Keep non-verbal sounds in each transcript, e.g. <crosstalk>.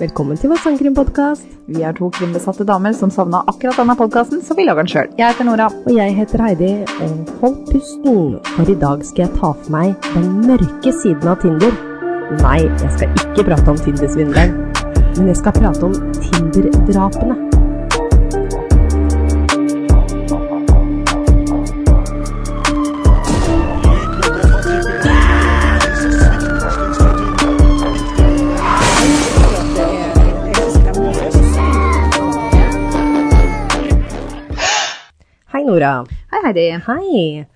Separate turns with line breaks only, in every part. Velkommen til vår sangkrimpodkast.
Vi er to krimbesatte damer som savna akkurat denne podkasten, så vi lager den sjøl. Jeg heter Nora.
Og jeg heter Heidi, og hold pusten, for i dag skal jeg ta for meg den mørke siden av Tinder. Nei, jeg skal ikke prate om Tinder-svindelen, men jeg skal prate om Tinder-drapene. Hei, Nora.
Hei, Heidi.
Hei.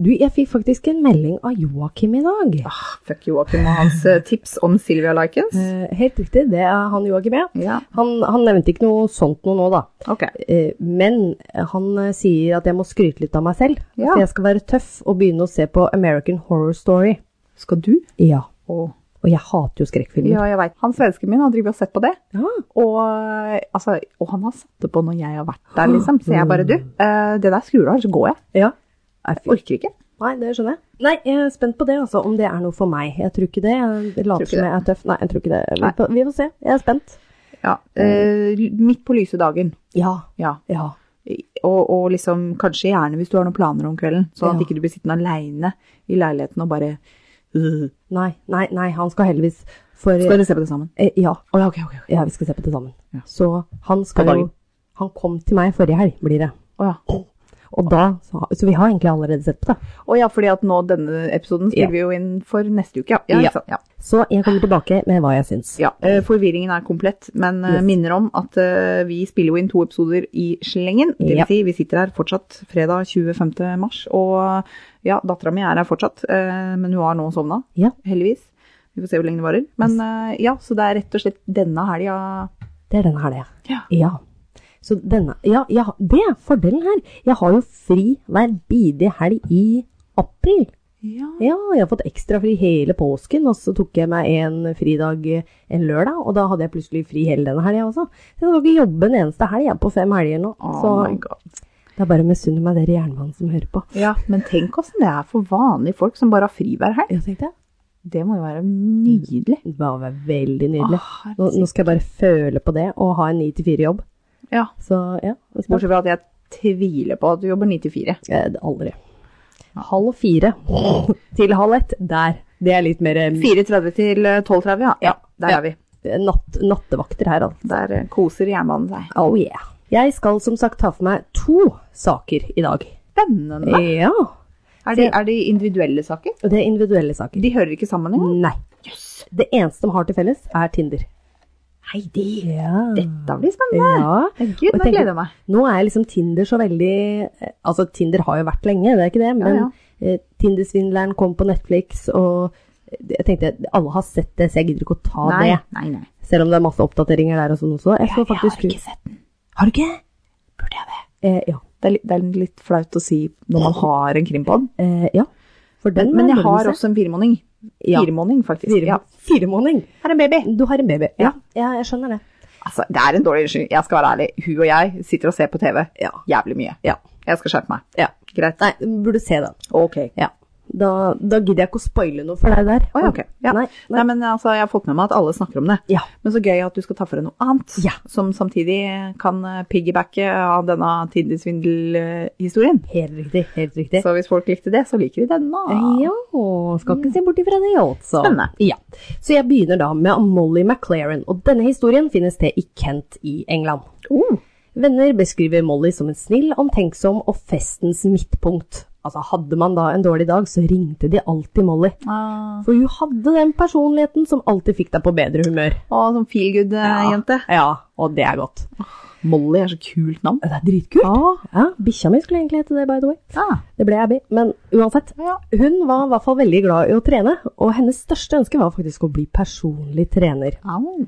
Du, jeg fikk faktisk en melding av Joakim i dag.
Ah, fuck Joakim og hans eh, tips om Silvia Likens.
Eh, helt riktig, det er han Joakim, ja.
Ja,
Han, han nevnte ikke noe sånt noe nå, da.
ok.
Eh, Men han eh, sier at jeg må skryte litt av meg selv.
Ja.
For jeg skal være tøff og begynne å se på American Horror Story.
Skal du?
Ja.
Å.
Og jeg hater jo skrekkfilmer.
Ja, jeg veit. Han svensken min har drevet og sett på det.
Ja.
Og, eh, altså, og han har satt det på når jeg har vært der, liksom. Så jeg bare Du, eh, det der skrur du av, så går jeg.
ja.
Jeg orker ikke.
Nei, det skjønner jeg. Nei, jeg er spent på det, altså. Om det er noe for meg. Jeg tror ikke det. Jeg
ikke
later som jeg er tøff. Nei, jeg tror ikke det. Vi får, vi får se. Jeg er spent.
Ja. eh, midt på lyse dagen.
Ja.
Ja.
Ja.
Og, og liksom, kanskje gjerne hvis du har noen planer om kvelden, sånn
Ja.
at ikke du blir sittende aleine i leiligheten og bare øh,
Nei, nei, nei. Han skal heldigvis for
Skal dere se på det sammen?
eh, ja.
Å ja, ok, ok. ok.
ja, vi skal se på det sammen.
Ja.
Så han skal
På
jo
dagen.
Han kom til meg forrige helg, blir det.
Å ja.
Og da Så, så vi har egentlig allerede sett på det.
Å ja, fordi at nå denne episoden
Ja.
spiller vi jo inn for neste uke, ja. Ja,
Ja.
ikke sant? ja.
Så jeg kommer tilbake med hva jeg syns.
ja. eh, Forvirringen er komplett, men eh,
Yes.
minner om at eh, vi spiller jo inn to episoder i slengen. Det vil
Ja.
si, vi sitter her fortsatt fredag 25. mars, og ja, dattera mi er her fortsatt, eh, men hun har nå sovna,
Ja.
heldigvis. Vi får se hvor lenge det varer. Men eh, ja, så det er rett og slett denne helga
Det er denne her, det.
Ja.
ja. Så denne Ja, ja det er fordelen her. Jeg har jo fri hver bidige helg i april.
ja.
Ja, jeg har fått ekstra fri hele påsken, og så tok jeg meg en fridag eh, en lørdag, og da hadde jeg plutselig fri hele denne helga også. Så jeg skal ikke jobbe en eneste helg jeg, på fem helger nå.
Oh
så
my god.
det er bare å misunne meg dere jernmannen som hører på.
Ja, men tenk åssen det er for vanlige folk som bare har fri hver helg.
Ja, tenkte jeg.
Det må jo være nydelig. Ah,
Det var veldig nydelig.
Åh,
Nå, nå skal jeg bare føle på det, og ha en 9-4-jobb.
Ja,
Så ja, det er
Bortsett fra at jeg tviler på at du jobber 9 til 4.
Eh, det- Aldri. Halv fire <laughs> til halv ett. Der. Det er litt mer eh,
4.30 til eh, 12.30, ja. ja. Der
Ja.
er vi.
eh, natt, nattevakter her, altså.
Der eh, koser jernbanen seg.
Oh yeah. Jeg skal som sagt ta for meg to saker i dag.
Spennende.
Ja.
Er de, er de individuelle saker?
Og det er individuelle saker.
De hører ikke sammen engang.
Nei. Det eneste de har til felles, er Tinder.
Heidi,
Ja.
dette blir spennende.
ja.
Gud,
Og
nå
tenker-
gleder jeg meg.
Nå er liksom Tinder så veldig eh, Altså, Tinder har jo vært lenge, det er ikke det, men
ja.
eh, Tinder-svindleren kom på Netflix, og jeg tenkte alle har sett det, så jeg gidder ikke å ta
Nei,
det.
nei, nei.
Selv om det er masse oppdateringer der og sånn også. Jeg, får faktisk tro-
sett den. Har du ikke? Burde jeg det?
Eh, ja.
Det er, litt- det er litt flaut å si når man har en krimpod.
Eh, ja. For den
Men, men
er
jeg
bra å
har
se.
også en firemåning.
Ja.
Firemåning, faktisk.
Fire,
Ja.
fire måneder.
Her er en baby.
Du har en baby.
Ja.
ja, jeg skjønner det.
Altså, det er en dårlig unnskyldning. Jeg skal være ærlig. Hun og jeg sitter og ser på TV
Ja.
jævlig mye.
Ja.
Jeg skal skjerpe meg.
ja.
Greit.
Nei, du burde se den.
Ok.
Ja. Da, da gidder jeg ikke å spoile noe for deg der.
Å, ja, ok. Ja.
Nei,
Nei,
nei.
men altså, jeg har fått med meg at alle snakker om det.
Ja.
Men så gøy at du skal ta for deg noe annet,
Ja.
som samtidig kan eh, piggybacke av denne tidligssvindelhistorien.
Helt riktig. Helt riktig.
Så hvis folk likte det, så liker de denne.
Eh, Ja, skal ikke se bort ifra det, altså.
Mm. Spennende.
Ja. Så jeg begynner da med Molly McLaren, og denne historien finner sted i Kent i England.
Oh,
Venner beskriver Molly som en snill, omtenksom og festens midtpunkt. Altså, hadde man da en dårlig dag, så ringte de alltid Molly.
ah.
For hun hadde den personligheten som alltid fikk deg på bedre humør.
Å, sånn feelgood-jente.
Ja, og det er godt.
Molly er så kult navn.
Det er dritkult.
Ah.
Ja, bikkja mi skulle egentlig hete det, by the way.
Ah.
Det ble Abby, men uansett.
Ja.
Hun var i hvert fall veldig glad i å trene, og hennes største ønske var faktisk å bli personlig trener.
Au.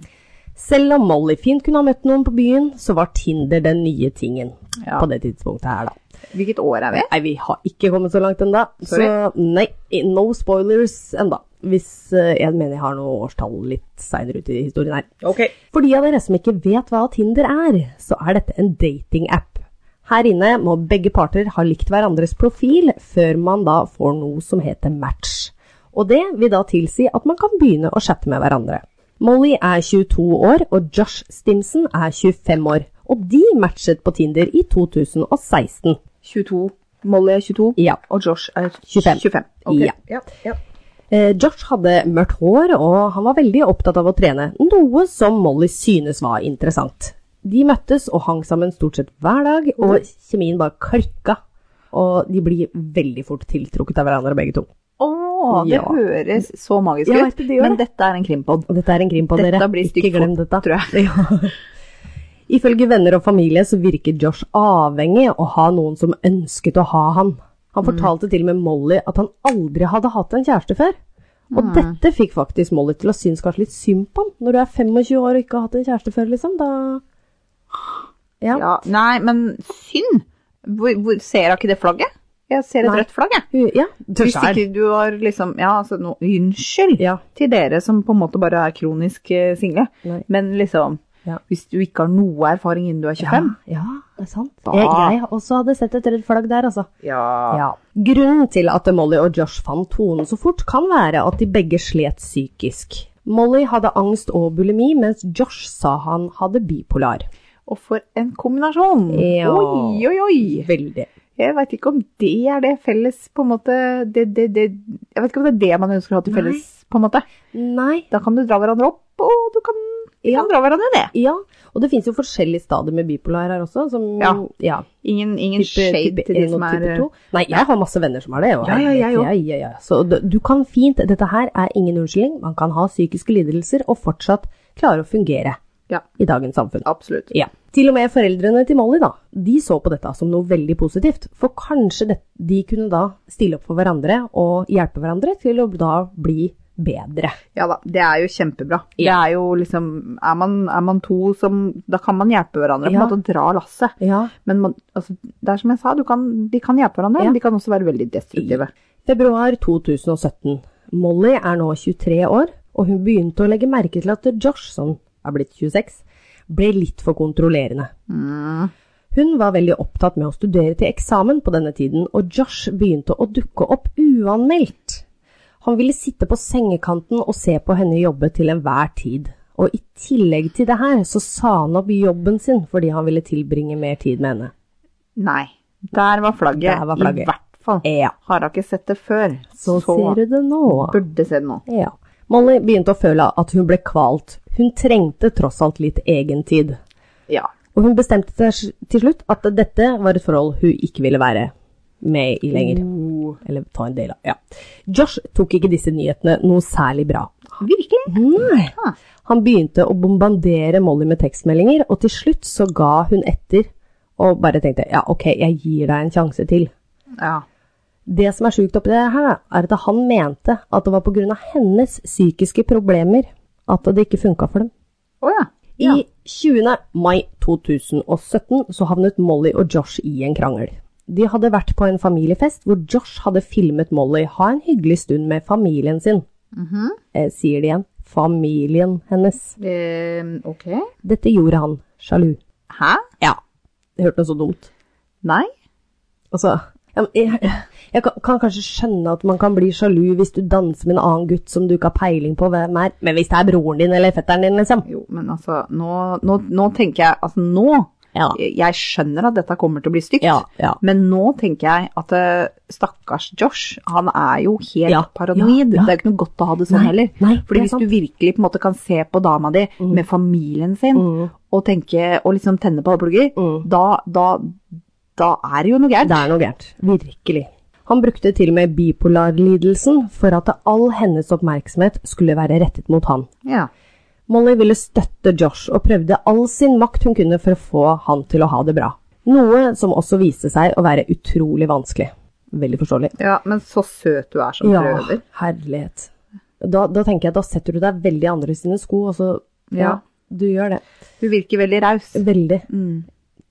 Selv om Molly fint kunne ha møtt noen på byen, så var Tinder den nye tingen
Ja.
på det tidspunktet her, da.
Hvilket år er vi?
Nei, vi har ikke kommet så langt ennå, så
Sorry.
nei, no spoilers ennå. Hvis eh, jeg mener jeg har noe årstall litt seinere ut i historien her.
Ok.
For de av dere som ikke vet hva Tinder er, så er dette en datingapp. Her inne må begge parter ha likt hverandres profil før man da får noe som heter match. Og det vil da tilsi at man kan begynne å chatte med hverandre. Molly er 22 år, og Josh Stimson er 25 år. Og de matchet på Tinder i 2016.
22. Molly er 22,
Ja.
og Josh er
25.
25. Ok.
Ja.
Ja, ja.
Eh, Josh hadde mørkt hår, og han var veldig opptatt av å trene, noe som Molly synes var interessant. De møttes og hang sammen stort sett hver dag, og
Mm.
kjemien bare klikka. Og de blir veldig fort tiltrukket av hverandre, begge to.
Å, det
Ja.
høres så magisk
Ja,
ut.
vet du, det gjør
Men
det.
dette er en krimpod.
Og dette er en grim på
Dette
dere.
blir
Ikke
stygt
glem dette.
tror
<laughs>
jeg.
Ifølge venner og familie så virker Josh avhengig av å ha noen som ønsket å ha han.
Mm.
Han fortalte til og med Molly at han aldri hadde hatt en kjæreste før. Og dette fikk faktisk Molly til å synes kanskje litt synd på han. Når du er 25 år og ikke har hatt en kjæreste før, liksom, da Ja.
Ja, nei, men synd! Hvor, hvor, ser jeg ikke det flagget? Jeg ser et
Nei.
rødt flagg, jeg.
Hun, ja.
Hvis ikke du har liksom Ja, altså, no, unnskyld
Ja.
til dere som på en måte bare er kronisk eh, single,
Nei.
men liksom
Ja.
Hvis du ikke har noe erfaring innen du er
Ja,
25
ja, det er sant.
Da-
Jeg, jeg også hadde sett et rødt flagg der, altså.
Ja.
Ja. Grunnen til at Molly og Josh fant tonen så fort, kan være at de begge slet psykisk. Molly hadde angst og bulimi, mens Josh sa han hadde bipolar.
Og for en kombinasjon!
Ja.
Oi, oi, oi!
Veldig.
Jeg veit ikke om det er det felles på en måte det, det, det, Jeg vet ikke om det er det man ønsker å ha til
Nei.
felles, på en måte.
Nei.
Da kan du dra hverandre opp, og du kan, du
Ja.
kan dra hverandre ned.
Ja, og det finnes jo forskjellige stadier med bipolar her også. Som, ja.
Ja. Ingen, ingen
Type,
shade
type
til de
1 og
som er eh,
type 2. Nei, jeg har masse venner som har det. og
Ja, ja, jeg
ja, ja, ja. Så d- du kan fint Dette her er ingen unnskyldning. Man kan ha psykiske lidelser og fortsatt klare å fungere
Ja.
i dagens samfunn.
Absolutt.
Ja. Til og med foreldrene til Molly da, de så på dette som noe veldig positivt, for kanskje det, de kunne da stille opp for hverandre og hjelpe hverandre til å da bli bedre.
Ja da, det er jo kjempebra. Det
Ja.
er jo liksom er man, er man to som Da kan man hjelpe hverandre på en
Ja.
måte og dra lasset.
Ja.
Men man, altså, det er som jeg sa, du kan, de kan hjelpe hverandre,
Ja.
men de kan også være veldig destruktive.
Februar 2017. Molly er nå 23 år, og hun begynte å legge merke til at Josh, som er blitt 26, ble litt for kontrollerende. Hun var veldig opptatt med å studere til eksamen på denne tiden, og Josh begynte å dukke opp uanmeldt. Han ville sitte på sengekanten og se på henne jobbe til enhver tid. Og i tillegg til det her, så sa han opp jobben sin fordi han ville tilbringe mer tid med henne.
Nei. Der var flagget.
Der var flagget.
I hvert fall.
Ja,
Har jeg ikke sett det før,
så, ser du det nå.
burde se det nå.
Ja. Molly begynte å føle at hun ble kvalt. Hun trengte tross alt litt egentid.
Ja.
Og hun bestemte seg til slutt at dette var et forhold hun ikke ville være med i lenger. Eller ta en del av. Ja. Josh tok ikke disse nyhetene noe særlig bra.
Virkelig?
Nei.
Ah.
Han begynte å bombardere Molly med tekstmeldinger, og til slutt så ga hun etter og bare tenkte ja, ok, jeg gir deg en sjanse til.
Ja.
Det som er sjukt oppi det her, er at han mente at det var pga. hennes psykiske problemer at det ikke funka for dem.
Å ja.
I 20. mai 2017 så havnet Molly og Josh i en krangel. De hadde vært på en familiefest hvor Josh hadde filmet Molly ha en hyggelig stund med familien sin. eh, sier de igjen. Familien hennes.
Eh, ok.
Dette gjorde han sjalu.
Hæ?
Ja. Jeg hørte noe så dumt.
Nei?
Altså, jeg, jeg, jeg kan, kan kanskje skjønne at man kan bli sjalu hvis du danser med en annen gutt som du ikke har peiling på hvem er, men hvis det er broren din eller fetteren din, liksom.
Jo, men altså, nå, nå, nå tenker jeg Altså, nå
Ja.
Jeg skjønner at dette kommer til å bli stygt,
Ja, ja.
men nå tenker jeg at eh, stakkars Josh, han er jo helt
Ja, ja,
paranoid.
ja.
Det er jo ikke noe godt å ha det sånn
Nei,
heller.
nei, det er
Fordi hvis
sant. Mm.
du virkelig på en måte kan se på dama di med familien sin, og tenke, og liksom tenne på alle plugger,
Mm.
da, da, da er det jo noe gærent.
Det er noe gærent. Virkelig. Han brukte til og med bipolarlidelsen for at all hennes oppmerksomhet skulle være rettet mot han.
Ja.
Molly ville støtte Josh og prøvde all sin makt hun kunne for å få han til å ha det bra. Noe som også viste seg å være utrolig vanskelig. Veldig forståelig.
ja, men så søt du er som prøver.
herlighet. Da, da tenker jeg, da setter du deg veldig i andre sine sko, og så
Ja.
du gjør det.
Du virker veldig raus.
Veldig.
Mm.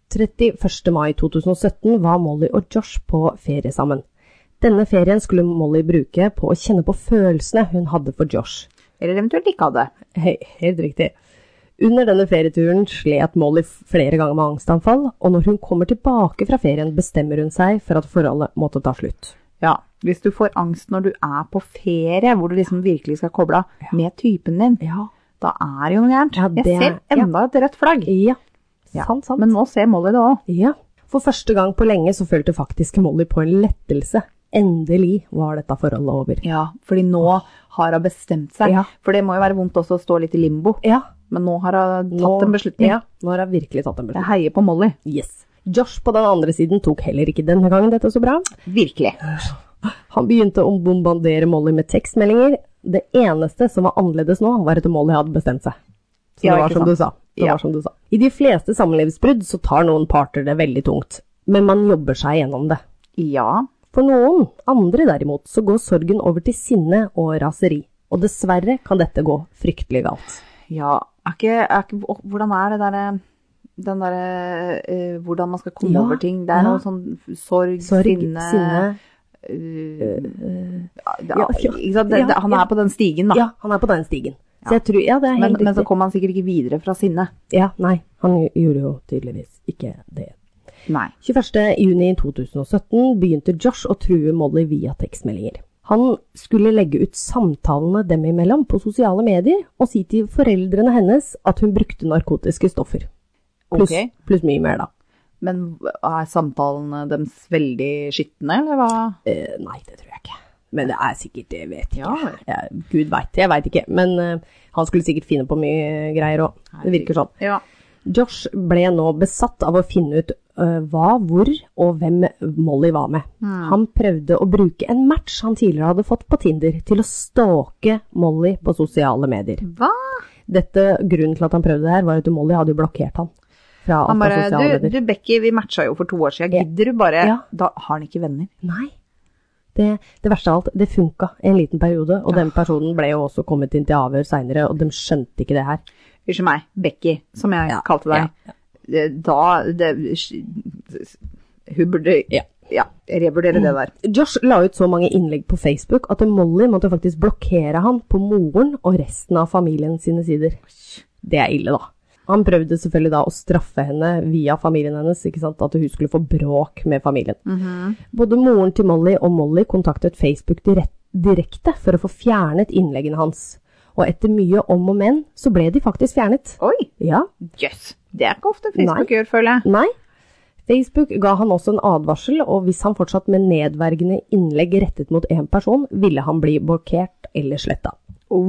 31. mai 2017 var Molly og Josh på ferie sammen. Denne ferien skulle Molly bruke på å kjenne på følelsene hun hadde for Josh.
Eller eventuelt ikke hadde.
Hei, helt riktig. Under denne ferieturen slet Molly flere ganger med angstanfall, og når hun kommer tilbake fra ferien, bestemmer hun seg for at forholdet måtte ta slutt.
Ja. Hvis du får angst når du er på ferie, hvor du liksom virkelig skal koble av med typen din,
Ja.
Da er det jo noe gærent.
Ja, det
jeg ser
er- ja.
enda et rødt flagg.
Ja.
Ja.
Sant, sant.
Men nå ser Molly det òg.
Ja. For første gang på lenge så følte faktisk Molly på en lettelse. Endelig var dette forholdet over.
Ja, fordi nå har hun bestemt seg.
Ja.
For det må jo være vondt også å stå litt i limbo.
Ja,
Men nå har hun tatt
nå,
en beslutning.
Ja, nå har hun virkelig tatt en beslutning.
Jeg heier på Molly.
Yes. Josh på den andre siden tok heller ikke denne gangen dette så bra.
Virkelig.
Han begynte å bombardere Molly med tekstmeldinger. Det eneste som var annerledes nå, var at Molly hadde bestemt seg. Så
Ja,
det, var
ikke
som,
sant?
du sa. det
Ja.
var som du sa. I de fleste samlivsbrudd så tar noen parter det veldig tungt, men man jobber seg gjennom det.
Ja.
For noen andre derimot, så går sorgen over til sinne og raseri. Og dessverre kan dette gå fryktelig galt.
Ja, er ikke, er ikke å, Hvordan er det derre den derre eh, Hvordan man skal komme
Ja,
over ting. Det
ja.
er noe sånn sorg,
Sorg, sinne,
sinne, eh, ja,
ja, ja.
ikke sant? Det,
Ja,
det, han
ja.
er på den stigen, da.
Ja, han er på den stigen. Så jeg tror, ja, det er
men,
helt
men så
riktig.
kom han sikkert ikke videre fra sinne.
Ja, nei, han gjorde jo tydeligvis ikke det.
Nei.
21.6.2017 begynte Josh å true Molly via tekstmeldinger. Han skulle legge ut samtalene dem imellom på sosiale medier, og si til foreldrene hennes at hun brukte narkotiske stoffer. Pluss
Ok.
pluss mye mer, da.
Men er samtalene deres veldig skitne, eller hva?
Eh, nei, det tror jeg ikke. Men det er sikkert, det vet jeg
Ja.
ikke. Jeg, Gud veit, jeg veit ikke. Men eh, han skulle sikkert finne på mye greier òg. Det virker sånn.
Ja.
Josh ble nå besatt av å finne ut eh, hva, hvor og hvem Molly var med.
Hmm.
Han prøvde å bruke en match han tidligere hadde fått på Tinder, til å stalke Molly på sosiale medier.
Hva?
Dette, Grunnen til at han prøvde det her, var at Molly hadde jo blokkert han. Fra
Han
alt av
bare
sosiale
du,
medier.
du, Becky, vi matcha jo for to år siden. Gidder du bare
Ja.
Da har han ikke venner.
Nei. Det, det verste av alt, det funka en liten periode, og den personen ble jo også kommet inn til avhør seinere, og de skjønte ikke det her.
Unnskyld meg, Becky, som jeg
Ja,
kalte deg. Eh, Da det, Hun burde
Ja.
ja, revurdere det der.
Josh la ut så mange innlegg på Facebook at Molly måtte faktisk blokkere han på moren og resten av familien sine sider. Det er ille, da. Han prøvde selvfølgelig da å straffe henne via familien hennes, ikke sant? at hun skulle få bråk med familien. Både moren til Molly og Molly kontaktet Facebook direk direkte for å få fjernet innleggene hans. Og etter mye om og men, så ble de faktisk fjernet.
Oi,
Ja,
jøss. Det er ikke ofte Facebook gjør, føler jeg.
Nei. Facebook ga han også en advarsel, og hvis han fortsatt med nedvergende innlegg rettet mot én person, ville han bli blokkert eller sletta.
Oh.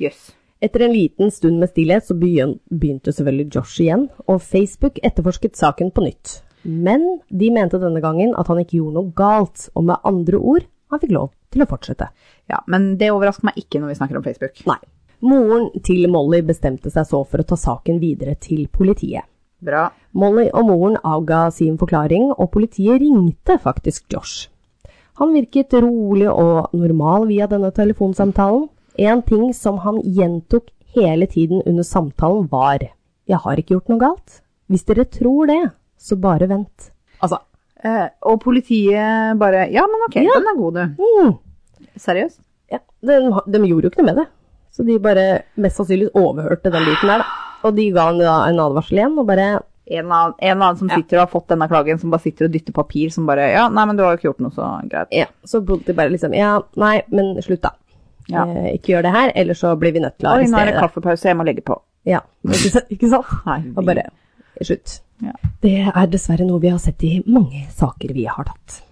Jøss.
Etter en liten stund med stillhet så begyn- begynte selvfølgelig Josh igjen, og Facebook etterforsket saken på nytt. Men de mente denne gangen at han ikke gjorde noe galt, og med andre ord, han fikk lov til å fortsette.
Ja, men det overrasker meg ikke når vi snakker om Facebook.
Nei. Moren til Molly bestemte seg så for å ta saken videre til politiet.
Bra.
Molly og moren avga sin forklaring, og politiet ringte faktisk Josh. Han virket rolig og normal via denne telefonsamtalen. En ting som han gjentok hele tiden under samtalen var Jeg har ikke gjort noe galt. Hvis dere tror det, så bare vent. Altså,
Eh, og politiet bare Ja, Oh. men ok, den er god, du.
mm,
Seriøst?
ja, de, de gjorde jo ikke noe med det. Så de bare mest sannsynlig overhørte den biten der, da. Og de ga han da en advarsel igjen og bare
En eller annen, en eller annen som sitter og har fått denne klagen, som bare sitter og dytter papir, som bare Ja, nei, men du har jo ikke gjort noe, så greit.
Ja, så bodde de bare liksom Ja, nei, men slutt, da.
Ja.
Eh, ikke gjør det her, ellers så blir vi nødt til å
Oi, nå er
arrestere
det
deg.
kaffepause, jeg må legge på.
Ja, ikke sant? Ikke sant?
Nei,
Og bare slutt.
Ja.
Det er dessverre noe vi har sett i mange saker vi har tatt.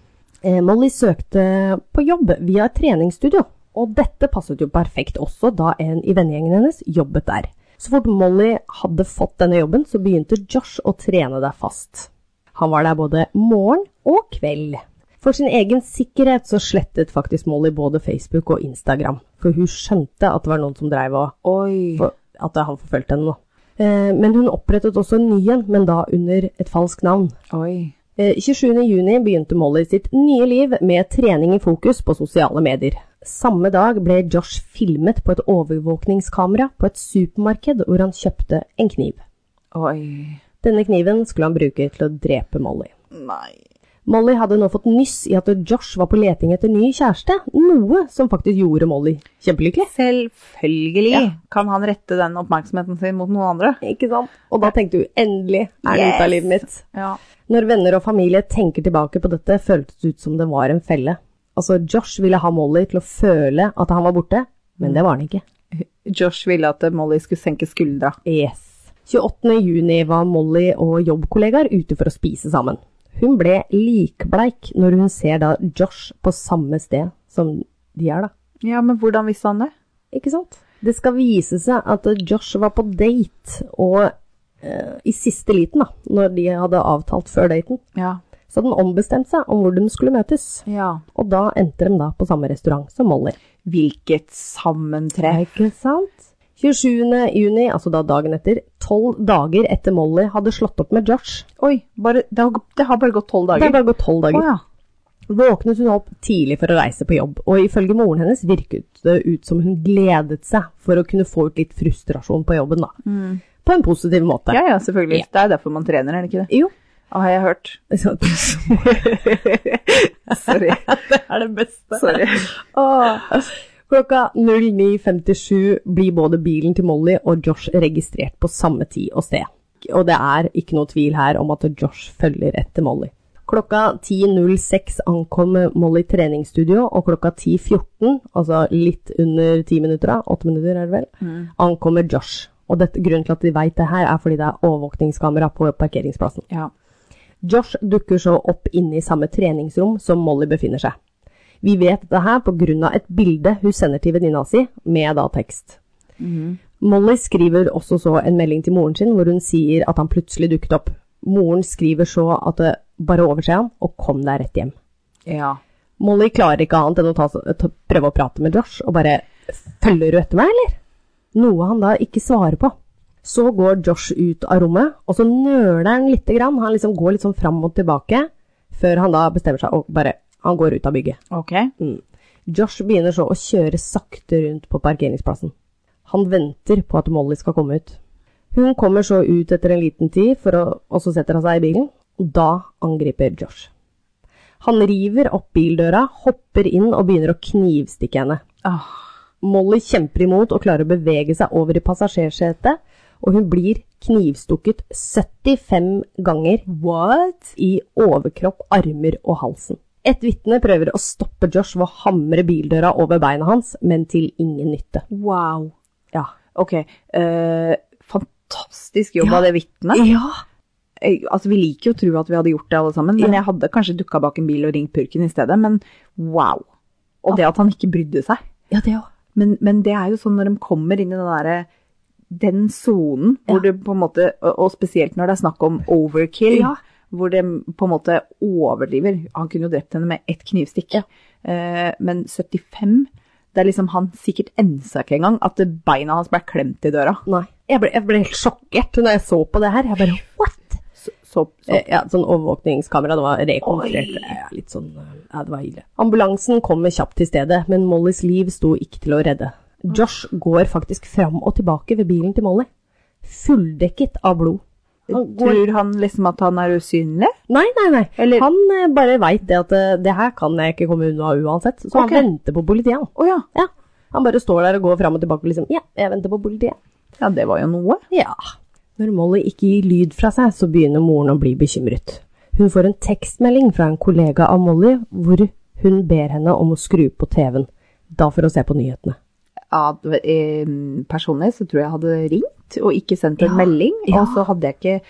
Eh, Molly søkte på jobb via et treningsstudio, og dette passet jo perfekt også da en i vennegjengen hennes jobbet der. Så fort Molly hadde fått denne jobben, så begynte Josh å trene der fast. Han var der både morgen og kveld. For sin egen sikkerhet så slettet faktisk Molly både Facebook og Instagram, for hun skjønte at det var noen som dreiv og
Oi.
for at han forfulgte henne. da. Eh, Men hun opprettet også en ny en, men da under et falskt navn.
Oi.
Eh, 27.6 begynte Molly sitt nye liv med trening i fokus på sosiale medier. Samme dag ble Josh filmet på et overvåkningskamera på et supermarked hvor han kjøpte en kniv.
Oi.
Denne kniven skulle han bruke til å drepe Molly.
Nei.
Molly hadde nå fått nyss i at Josh var på leting etter ny kjæreste, noe som faktisk gjorde Molly kjempelykkelig.
Selvfølgelig kan han rette den oppmerksomheten sin mot noen andre.
Ikke sant? Og da tenkte hun endelig er det ute av
Yes.
livet mitt.
Ja.
Når venner og familie tenker tilbake på dette, føltes det ut som det var en felle. Altså, Josh ville ha Molly til å føle at han var borte, men det var han ikke.
Josh ville at Molly skulle senke skuldra.
Yes. 28. juni var Molly og jobbkollegaer ute for å spise sammen. Hun ble likbleik når hun ser da Josh på samme sted som de er, da.
Ja, men hvordan visste han det?
Ikke sant? Det skal vise seg at Josh var på date, og eh, i siste liten, da, når de hadde avtalt før daten,
Ja.
så hadde han ombestemt seg om hvor de skulle møtes.
ja.
Og da endte de da på samme restaurant som Molly.
Hvilket
Ja,
sammentreff.
Ikke sant? 27. juni, altså da dagen etter, tolv dager etter Molly hadde slått opp med Josh.
Oi, bare, det, har, det har bare gått tolv
Det
dager.
har bare gått tolv
Å
dager.
ja.
Våknet hun opp tidlig for å reise på jobb, og ifølge moren hennes virket det ut som hun gledet seg for å kunne få ut litt frustrasjon på jobben, da. På en positiv måte.
Mm. ja, ja, selvfølgelig. Det er derfor man trener, er det ikke det?
Jo. <laughs>
Ah, har jeg hørt.
Så- det
<laughs> Sorry.
er det beste.
Sorry.
Åh. Klokka 09.57 blir både bilen til Molly og Josh registrert på samme tid og sted. Og det er ikke noe tvil her om at Josh følger etter Molly. Klokka 10.06 ankom Molly treningsstudio, og klokka 10.14, altså litt under ti minutter, da, åtte minutter er det vel, ankommer Josh. Og dette, grunnen til at de veit det her, er fordi det er overvåkningskamera på parkeringsplassen.
Ja.
Josh dukker så opp inne i samme treningsrom som Molly befinner seg. Vi vet dette her pga. et bilde hun sender til venninna si, med da tekst. Molly skriver også så en melding til moren sin, hvor hun sier at han plutselig dukket opp. Moren skriver så at det bare overse ham, og kom deg rett hjem.
ja.
Molly klarer ikke annet enn å ta, ta, prøve å prate med Josh, og bare Følger du etter meg, eller? Noe han da ikke svarer på. Så går Josh ut av rommet, og så nøler han lite grann. Han liksom går litt sånn fram og tilbake, før han da bestemmer seg og bare Han går ut av bygget.
Ok.
Mm. Josh begynner så å kjøre sakte rundt på parkeringsplassen. Han venter på at Molly skal komme ut. Hun kommer så ut etter en liten tid, for å, og så setter han seg i bilen. Og da angriper Josh. Han river opp bildøra, hopper inn og begynner å knivstikke henne.
Ah,
Molly kjemper imot og klarer å bevege seg over i passasjersetet, og hun blir knivstukket 75 ganger What? i overkropp, armer og halsen. Et vitne prøver å stoppe Josh ved å hamre bildøra over beina hans, men til ingen nytte.
wow.
Ja.
Ok. eh, fantastisk jobb av det vitnet.
ja.
Eh, Altså, vi liker jo å tro at vi hadde gjort det alle sammen, men jeg hadde kanskje dukka bak en bil og ringt purken i stedet, men wow. Og det at han ikke brydde seg.
Ja, det òg.
Men, men det er jo sånn når de kommer inn i den derre den sonen hvor det på en måte, og og spesielt når det er snakk om overkill,
Ja.
hvor de på en måte overdriver. Han kunne jo drept henne med ett knivstikk,
Ja.
Eh, men 75 Det er liksom han sikkert ensa ikke engang at beina hans ble klemt i døra.
Nei. Jeg ble, jeg ble helt sjokkert når jeg så på det her. Jeg bare what?
Så, så, så.
Eh, Ja, sånn overvåkningskamera, det var rekonstruert.
Oi.
Ja, Litt sånn, ja, det var ille. Ambulansen kommer kjapt til stedet, men Mollys liv sto ikke til å redde. Josh går faktisk fram og tilbake ved bilen til Molly, fulldekket av blod. Han går...
Tror han liksom at han er usynlig?
Nei, nei, nei.
Eller-
Han eh, bare veit det at eh, det her kan jeg ikke komme unna uansett, så
Ok.
han venter på politiet. han.
Å ja.
Ja. Han bare står der og går fram og tilbake liksom Ja, jeg venter på politiet.
Ja, det var jo noe.
Ja. Når Molly ikke gir lyd fra seg, så begynner moren å bli bekymret. Hun får en tekstmelding fra en kollega av Molly, hvor hun ber henne om å skru på TV-en. Da for å se på nyhetene.
Ja, det var- eh, personlig så tror jeg jeg hadde ringt og ikke sendt en
Ja,
melding.
ja.
Og så hadde jeg ikke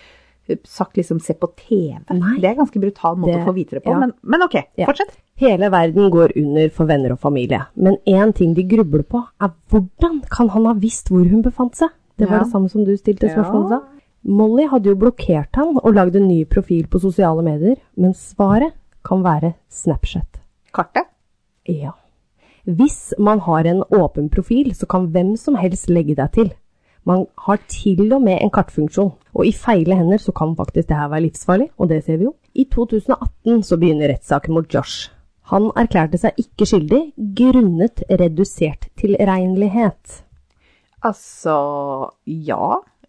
sagt liksom 'se på TV'.
Nei.
Det er en ganske brutal måte
Det-
å få vite det på,
ja.
men, men ok,
Ja.
fortsett.
Hele verden går under for venner og familie, men én ting de grubler på, er hvordan kan han ha visst hvor hun befant seg? Det var
Ja.
det samme som du stilte spørsmål
Ja.
om. Molly hadde jo blokkert han og lagd en ny profil på sosiale medier, men svaret kan være Snapchat.
Kartet?
Ja. Hvis man har en åpen profil, så kan hvem som helst legge deg til. Man har til og med en kartfunksjon, og i feile hender så kan faktisk det her være livsfarlig, og det ser vi jo. I 2018 så begynner rettssaken mot Josh. Han erklærte seg ikke skyldig grunnet redusert tilregnelighet.
Altså, ja.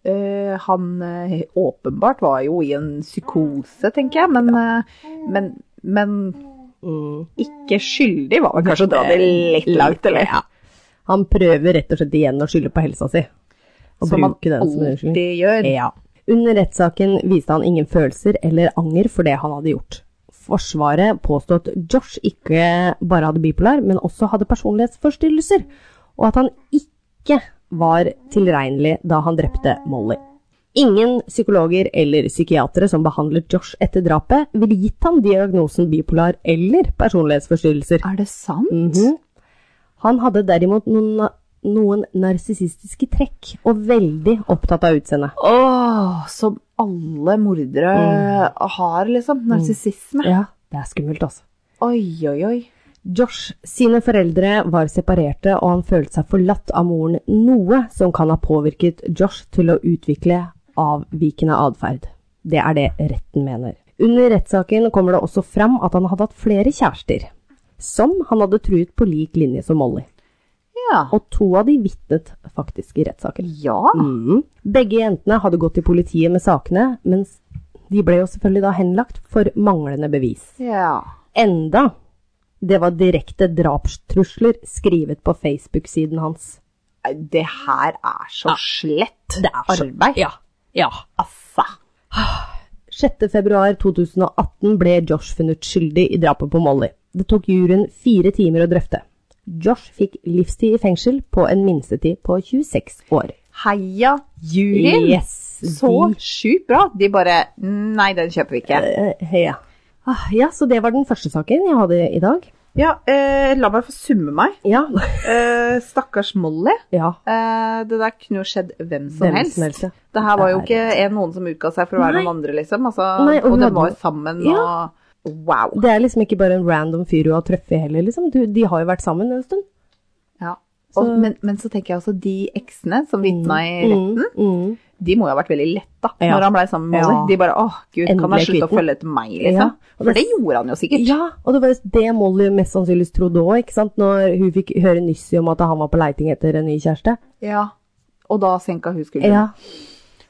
Eh, han eh, åpenbart var jo i en psykose, tenker jeg, men, eh, men, men ikke skyldig var vel kanskje å dra det litt langt, eller?
Ja. Han prøver rett og slett igjen å skylde på helsa si. Og
Som man
bruke den som unnskyldning.
alltid gjør.
<laughs> Ja. Under rettssaken viste han ingen følelser eller anger for det han hadde gjort. Forsvaret påstod at Josh ikke bare hadde bipolar, men også hadde personlighetsforstyrrelser, og at han ikke ikke var tilregnelig da han drepte Molly. Ingen psykologer eller psykiatere som behandlet Josh etter drapet, ville gitt ham diagnosen bipolar eller personlighetsforstyrrelser.
Er det sant?
Mhm. Han hadde derimot noen, noen narsissistiske trekk, og veldig opptatt av utseendet.
Åh, som alle mordere
Mm.
har, liksom. Narsissisme.
Ja, det er skummelt, altså.
Oi, oi, oi.
Josh sine foreldre var separerte, og han følte seg forlatt av moren, noe som kan ha påvirket Josh til å utvikle avvikende atferd. Det er det retten mener. Under rettssaken kommer det også fram at han hadde hatt flere kjærester, som han hadde truet på lik linje som Molly.
Ja.
Og to av de vitnet faktisk i rettssaken.
ja.
Mm. Begge jentene hadde gått til politiet med sakene, mens de ble jo selvfølgelig da henlagt for manglende bevis.
Ja.
Enda det var direkte drapstrusler skrevet på Facebook-siden hans.
Nei, Det her er så slett arbeid.
Ja. ja.
Assa.
6. februar 2018 ble Josh funnet skyldig i drapet på Molly. Det tok juryen fire timer å drøfte. Josh fikk livstid i fengsel på en minstetid på 26 år.
Heia juryen.
Yes, Mm.
Så sjukt bra. De bare Nei, den kjøper vi ikke.
Eh, ja. Ah, ja, så det var den første saken jeg hadde i dag.
Ja, eh, la meg få summe meg.
Ja.
Eh, stakkars Molly.
<laughs> ja.
Eh, det der kunne jo skjedd hvem som
Hvem
helst.
som helst, ja.
Det her var jo
Det er-
ikke en, noen som utga seg for å være
Nei.
noen andre, liksom. Altså,
Nei, og
og
hun
de
hadde-
var jo sammen
Ja.
og Wow.
Det er liksom ikke bare en random fyr du har truffet heller, liksom. Du, de har jo vært sammen en stund.
Ja. Og,
Så-
men, men så tenker jeg også de eksene som vitna i retten,
Mm.
de må jo ha vært veldig letta
Ja.
når han blei sammen med
Ja.
Molly. De bare åh, gud, kan han
Endelig
slutte å
kvitten.
følge etter meg, liksom?
Ja.
For det gjorde han jo sikkert.
Ja, og det var jo det Molly mest sannsynligvis trodde òg, ikke sant. Når hun fikk høre nysset om at han var på leiting etter en ny kjæreste.
Ja. Og da senka hun skulderen.
Ja.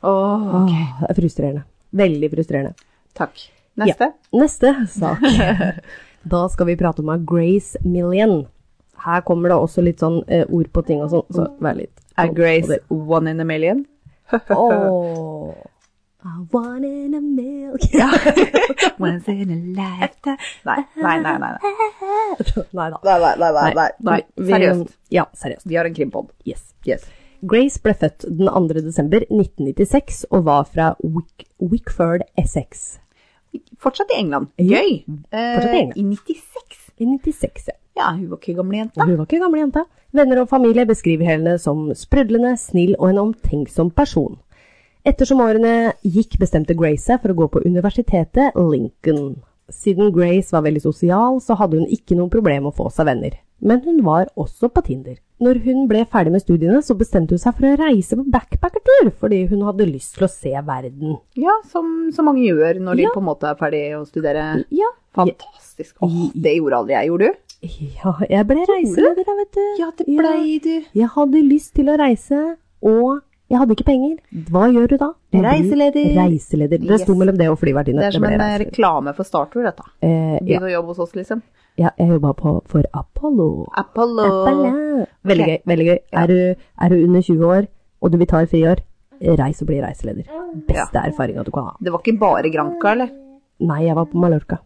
Åh,
Åh, det er frustrerende. Veldig frustrerende.
takk. Neste.
Neste
<laughs>
sak. da skal vi prate om av Grace Million. Her kommer det også litt sånn eh, ord på ting og sånn, så vær litt
Er <laughs> Grace one in a million?
Åh. I want in a milk. <laughs>
Once in a lifetime Nei, nei, nei. nei. nei.
Nei da.
Nei, nei, nei, nei, nei, nei.
Vi-
Seriøst.
Ja, seriøst.
Vi har en krimpod.
Yes.
Yes.
Grace ble født den 2. desember 1996 og var fra Wick Wickford, Essex.
Fortsatt i England. Gøy.
Fortsatt i England.
Eh, I 96.
I 96, ja.
Ja, hun var ikke gamlejenta.
Og hun var ikke gamle jenta. Venner og familie beskriver henne som sprudlende, snill og en omtenksom person. Ettersom årene gikk, bestemte Grace seg for å gå på universitetet Lincoln. Siden Grace var veldig sosial, så hadde hun ikke noe problem å få seg venner. Men hun var også på Tinder. Når hun ble ferdig med studiene, så bestemte hun seg for å reise på backpackertur, fordi hun hadde lyst til å se verden.
Ja, som så mange gjør når de
Ja.
på en måte er ferdig å studere.
Ja,
Fantastisk. Åh, det gjorde aldri jeg. Gjorde du?
ja jeg ble reiseleder, da, vet du.
Ja, det blei du.
Jeg hadde lyst til å reise, og jeg hadde ikke penger. Hva gjør du da? Da blir
Reiseleder.
Reiseleder. Det sto
Yes.
mellom det og flyvertinne.
Det er som
ble
en eh,
reiseleder.
reklame for Starttour, dette.
Eh, ja,
Begynn å jobbe hos oss, liksom.
ja, jeg jobba på- for Apollo.
Apollo.
Apollo. Veldig
Ok.
gøy. veldig gøy.
Ja.
Er, du, er du under 20 år, og du vil ta et friår, reis og bli reiseleder. Beste erfaringa du kan ha.
Det var ikke bare Granca, eller?
Nei, jeg var på Mallorca.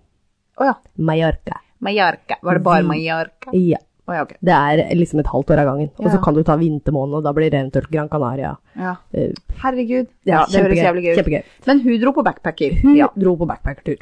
Å ja.
Mallorca.
Mallorca. Var det bare Mallorca? Å
Ja.
ja, ok.
Det er liksom et halvt år av gangen. Og
Ja.
så kan du ta vintermåneden, og da blir det eventuelt Gran Canaria.
Ja.
Eh,
Herregud. Ja, det høres jævlig gøy ut.
Kjempegøy.
Men hun dro på backpacker.
Hun
Ja.
dro på backpackertur.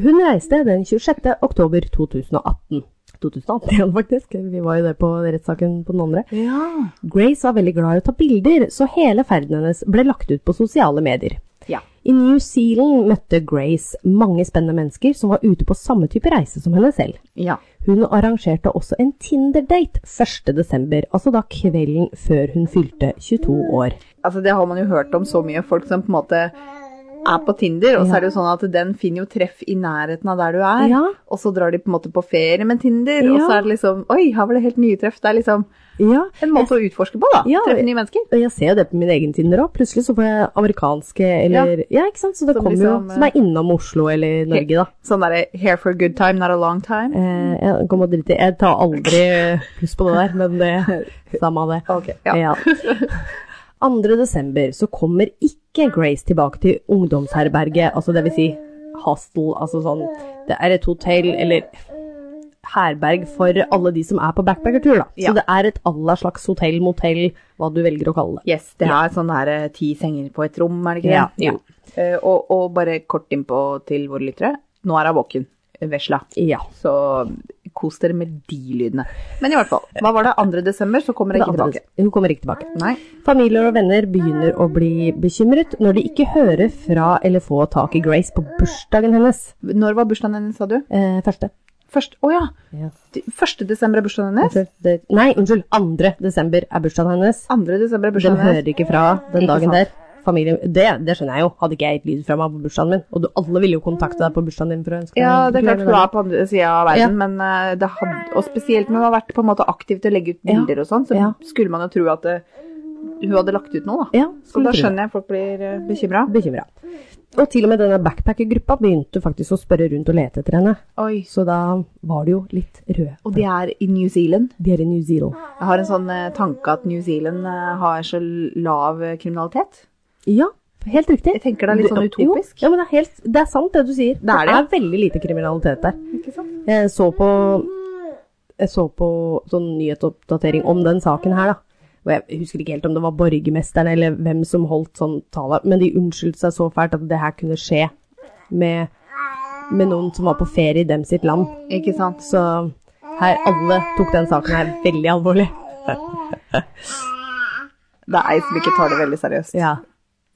Hun reiste den 26. oktober 2018. <laughs> 2018 igjen, faktisk. Vi var jo det på rettssaken på den andre.
ja.
Grace var veldig glad i å ta bilder, så hele ferden hennes ble lagt ut på sosiale medier.
Ja.
I New Zealand møtte Grace mange spennende mennesker som var ute på samme type reise som henne selv.
Ja.
Hun arrangerte også en Tinder-date 1. desember, altså da kvelden før hun fylte 22 år.
Altså, det har man jo hørt om så mye. Folk som på en måte er på Tinder, og så er det jo sånn at den finner jo treff i nærheten av der du er.
Ja.
Og så drar de på en måte på ferie med Tinder, og
Ja.
så er det liksom Oi, her var det helt nye treff. Det er liksom
Ja,
en måte å utforske på, da.
Ja,
Treffe nye mennesker.
Og Jeg ser jo det på min egen Tinder òg. Plutselig så får jeg amerikanske eller Ja, ikke sant? Så det
Som
kommer
liksom,
jo som er innom Oslo eller Norge, da.
Sånn derre here for a good time, not a long time.
Eh, jeg kommer å drite i Jeg tar aldri pluss på det der, men det Samme av det.
Ok, ja.
Ja. 2. desember så kommer ikke Grace tilbake til ungdomsherberget, altså det vil si hostel, altså sånn Det er et hotell eller herberg for alle de som er på backpackertur, da.
Ja.
Så det er et alla slags hotell, motell, hva du velger å kalle det.
Yes, det er sånn her eh, ti senger på et rom, er det ikke det?
Ja, ja.
Eh, og, og bare kort innpå til våre lyttere. Nå er hun våken, vesla.
Ja.
Så kos dere med de lydene. Men i hvert fall, hva var det? 2. desember, så kommer jeg ikke
Det andre-
tilbake.
Hun kommer ikke tilbake.
Nei.
Familier og venner begynner å bli bekymret når de ikke hører fra eller får tak i Grace på bursdagen hennes.
Når var bursdagen hennes, sa du?
Eh, første.
Først, å ja.
Ja.
1. desember er bursdagen hennes.
Unnskyld, det, nei, unnskyld. 2. desember er bursdagen hennes.
2. desember er
De
bursdagen hennes.
hører ikke fra den
Ikke
dagen der.
sant.
Familie, det, det skjønner jeg jo. Hadde ikke jeg gitt lyd fra meg på bursdagen min. Og du, alle ville jo kontakte deg på bursdagen din for å ønske deg
Ja, det er
gratulerer
klart hun
med
er på andre sida av verden, men eh, det hadde, og spesielt når hun har vært på en måte aktiv til å legge ut
Ja.
bilder og sånn, så
Ja.
skulle man jo tro at eh, hun hadde lagt ut noe, da.
dagen. Ja,
Så da
skulle tro det.
skjønner jeg folk blir eh, bekymra.
bekymra. Og til og med denne backpackergruppa begynte faktisk å spørre rundt og lete etter henne.
Oi.
Så da var det jo litt røde.
Og det er i New Zealand.
De er i New Zealand.
Jeg har en sånn eh, tanke at New Zealand eh, har så lav eh, kriminalitet.
Ja, helt riktig.
Jeg tenker det er litt sånn
Jo,
utopisk.
Ja, men det er, helt, det er sant det du sier.
Det er det, ja.
veldig lite kriminalitet der.
Ikke sant?
Jeg så på, jeg så på sånn nyhetsoppdatering om den saken her, da. Og jeg husker ikke helt om det var borgermesteren eller hvem som holdt sånn tale, men de unnskyldte seg så fælt at det her kunne skje med, med noen som var på ferie i dem sitt land.
Ikke sant?
Så her, alle tok den saken her veldig alvorlig.
Det er ei som ikke tar det veldig seriøst.
Ja.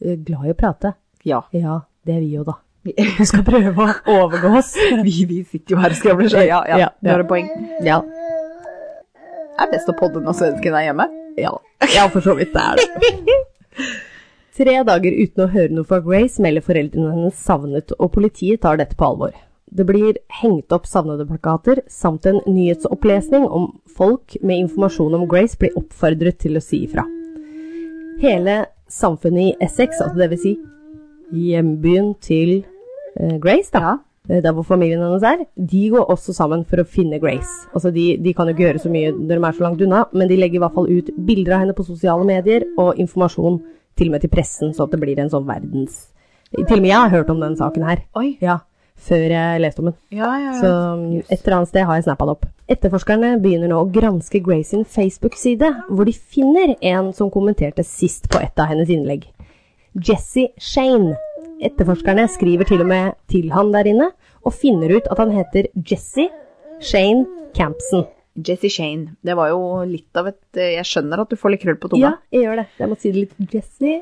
Glad i å prate.
<laughs> Ja.
Ja, det er vi jo da. Vi skal prøve å overgå oss.
Vi, vi sitter jo her og skravler, så ja, ja,
Ja,
du
ja.
har et poeng.
Ja,
Det er best å podde når svensken er hjemme.
Ja, ja for så vidt det er det. Tre dager uten å høre noe fra Grace melder foreldrene hennes savnet, og politiet tar dette på alvor. Det blir hengt opp savnede plakater, samt en nyhetsopplesning om folk med informasjon om Grace blir oppfordret til å si ifra. Hele samfunnet i Essex, altså det vil si hjembyen til eh, Grace, da,
Ja.
eh, der hvor familien hennes er, de går også sammen for å finne Grace. Altså de, de kan jo ikke gjøre så mye når de er så langt unna, men de legger i hvert fall ut bilder av henne på sosiale medier og informasjon til og med til pressen, så at det blir en sånn verdens... Til og med jeg har hørt om den saken her.
Oi.
Ja, før jeg leste om den.
Ja, ja,
Så et eller annet sted har jeg snappa det opp. Etterforskerne begynner nå å granske Grace sin Facebook-side, hvor de finner en som kommenterte sist på et av hennes innlegg. Jesse Shane. Etterforskerne skriver til og med til han der inne, og finner ut at han heter Jesse Shane Campson.
Jesse Shane. Det var jo litt av et eh, Jeg skjønner at du får litt krøll på
Ja,
tunga.
jeg gjør det. Jeg må si det litt. Jesse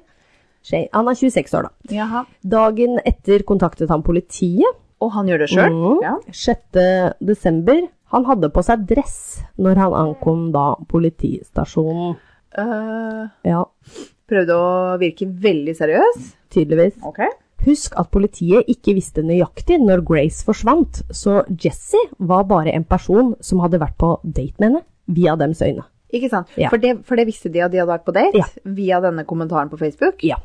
Shane. Han er 26 år, da.
Jaha.
Dagen etter kontaktet han politiet,
Og han gjør det sjøl?
Mhm.
Ja.
6. desember. Han hadde på seg dress når han ankom da politistasjonen.
Eh,
Ja,
prøvde å virke veldig seriøs.
tydeligvis.
Ok.
Husk at politiet ikke visste nøyaktig når Grace forsvant, så Jesse var bare en person som hadde vært på date med henne via dems øyne.
Ikke sant?
Ja.
For, det, for det visste de at de hadde vært på date
Ja.
via denne kommentaren på Facebook?
Ja,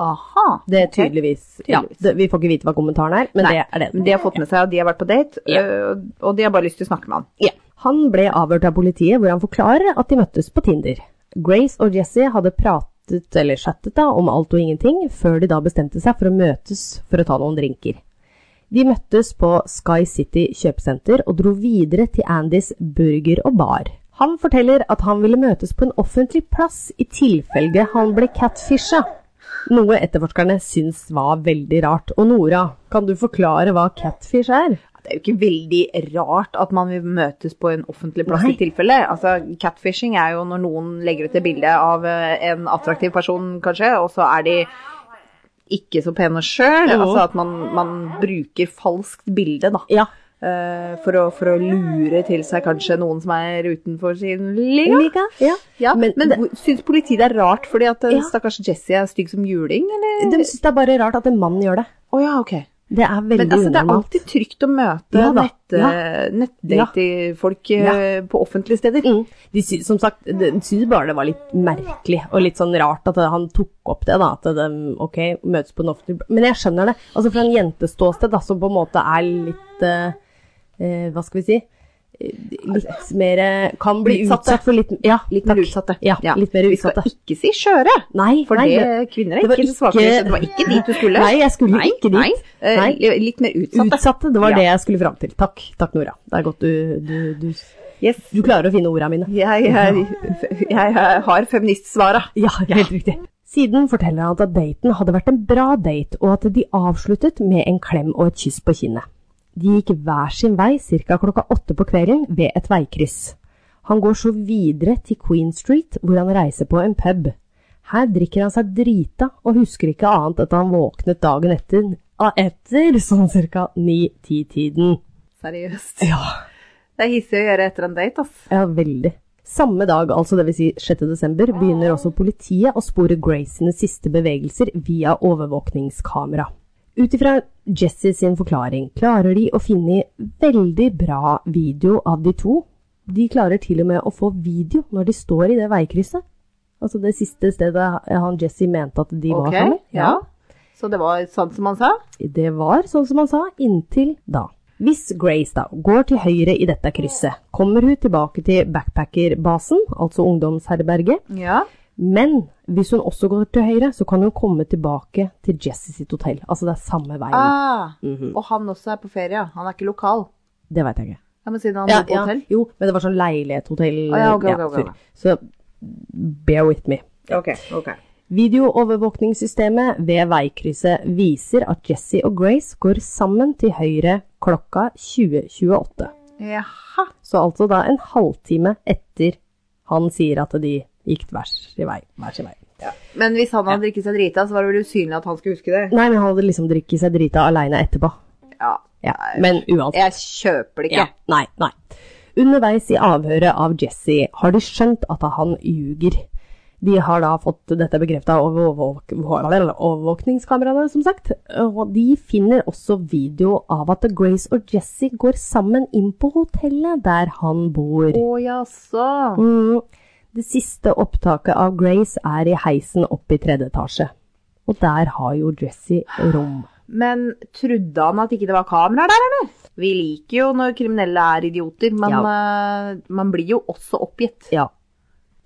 Aha.
det er
ok.
tydeligvis. Ja,
Tydeligvis.
det, vi får ikke vite hva kommentaren er, men
Nei,
det er
Men
det.
de har fått med seg at de har vært på date, eh, og de har bare lyst til å snakke med han.
Ja. Han ble avhørt av politiet, hvor han forklarer at de møttes på Tinder. Grace og Jesse hadde pratet, eller chattet da, om alt og ingenting, før de da bestemte seg for å møtes for å ta noen drinker. De møttes på Sky City kjøpesenter og dro videre til Andys burger og bar. Han forteller at han ville møtes på en offentlig plass i tilfelle han ble catfisha. Noe etterforskerne syns var veldig rart. Og Nora, kan du forklare hva catfish er?
Det er jo ikke veldig rart at man vil møtes på en offentlig plass
Nei.
i tilfelle. Altså, catfishing er jo når noen legger ut et bilde av eh, en attraktiv person, kanskje, og så er de ikke så pene sjøl.
Jo.
Altså at man, man bruker falskt bilde, da.
Ja,
eh, For å, for å lure til seg kanskje noen som er utenfor sin liga.
Lika? Ja.
Ja, men
Men det-
hvor- syns politiet det er rart fordi at eh,
Ja.
stakkars Jesse er stygg som juling, eller?
De syns det er bare rart at en mann gjør det.
Å ja, ok.
Det er veldig
Men altså, det er
unormalt.
alltid trygt å møte
Ja da,
nett, nettdate-folk eh, på offentlige steder.
Mm. De sy som sagt, de syns bare det var litt merkelig og litt sånn rart at han tok opp det. da, at de, ok, møtes på en offentlig... Men jeg skjønner det. Altså Fra en jenteståsted, da, som på en måte er litt eh, eh, Hva skal vi si? litt mer eh, Kan bli
Utsatte.
utsatt for litt Ja, litt,
Litt
takk.
utsatte.
Ja, litt mer
Vi skal
utsatte.
ikke si skjøre,
Nei,
for
nei,
det, kvinner er
det var
ikke det
ikke-
svakeste. Det var ikke dit du skulle.
Nei, jeg skulle ikke dit.
Nei, eh,
Nei.
Litt mer utsatte.
Utsatte, det var
Ja.
det jeg skulle fram til. Takk, takk Nora. Det er godt du, du, du,
Yes.
du klarer å finne ordene mine.
Jeg, jeg, jeg har feministsvara.
Ja, helt riktig. Siden forteller han at daten hadde vært en bra date, og at de avsluttet med en klem og et kyss på kinnet. De gikk hver sin vei ca. klokka åtte på kvelden ved et veikryss. Han går så videre til Queen Street, hvor han reiser på en pub. Her drikker han seg drita og husker ikke annet at han våknet dagen etter, etter sånn ca. 9-10-tiden.
Seriøst.
Ja.
Det er hissig å gjøre etter en date, ass.
Ja, veldig. Samme dag, altså dvs. Si 6. desember, begynner også politiet å spore Grace sine siste bevegelser via overvåkningskamera. Ut ifra Jesse sin forklaring klarer de å finne veldig bra video av de to. De klarer til og med å få video når de står i det veikrysset. Altså det siste stedet han Jesse mente at de var
Ok,
sammen.
ja. Så det var sånn som han sa?
Det var, sånn som han sa, inntil da. Hvis Grace da går til høyre i dette krysset, kommer hun tilbake til backpackerbasen, altså ungdomsherberget,
Ja.
men hvis hun også går til høyre, så kan hun komme tilbake til Jesse sitt hotell. Altså det er samme veien.
Ah,
Mhm.
Og han også er på ferie, ja. han er ikke lokal.
Det veit jeg ikke.
Ja, men siden han
Ja,
bor på hotell.
Jo, men det var sånn leilighetshotell.
Ah, ja, ok, ok, ok,
før.
ok.
Så bear with me.
Ok, ok.
Videoovervåkningssystemet ved veikrysset viser at Jesse og Grace går sammen til høyre klokka 2028.
Jaha.
Så altså da en halvtime etter han sier at de gikk hver sin vei. Hver sin vei.
Men hvis han hadde drikket seg drita, så var det vel usynlig at han skulle huske det?
Nei, men han hadde liksom drukket seg drita aleine etterpå.
Ja.
Ja, men uansett.
Jeg kjøper det ikke.
Ja, nei, nei. Underveis i avhøret av Jesse har de skjønt at han ljuger. De har da fått dette bekrefta over overvåk- overvåkningskameraene, som sagt. Og de finner også video av at Grace og Jesse går sammen inn på hotellet der han bor.
Å jaså.
Mm. Det siste opptaket av Grace er i heisen opp i tredje etasje. Og der har jo Jesse rom.
Men trodde han at ikke det var kameraer der, eller? Vi liker jo når kriminelle er idioter, men eh, man blir jo også oppgitt.
Ja.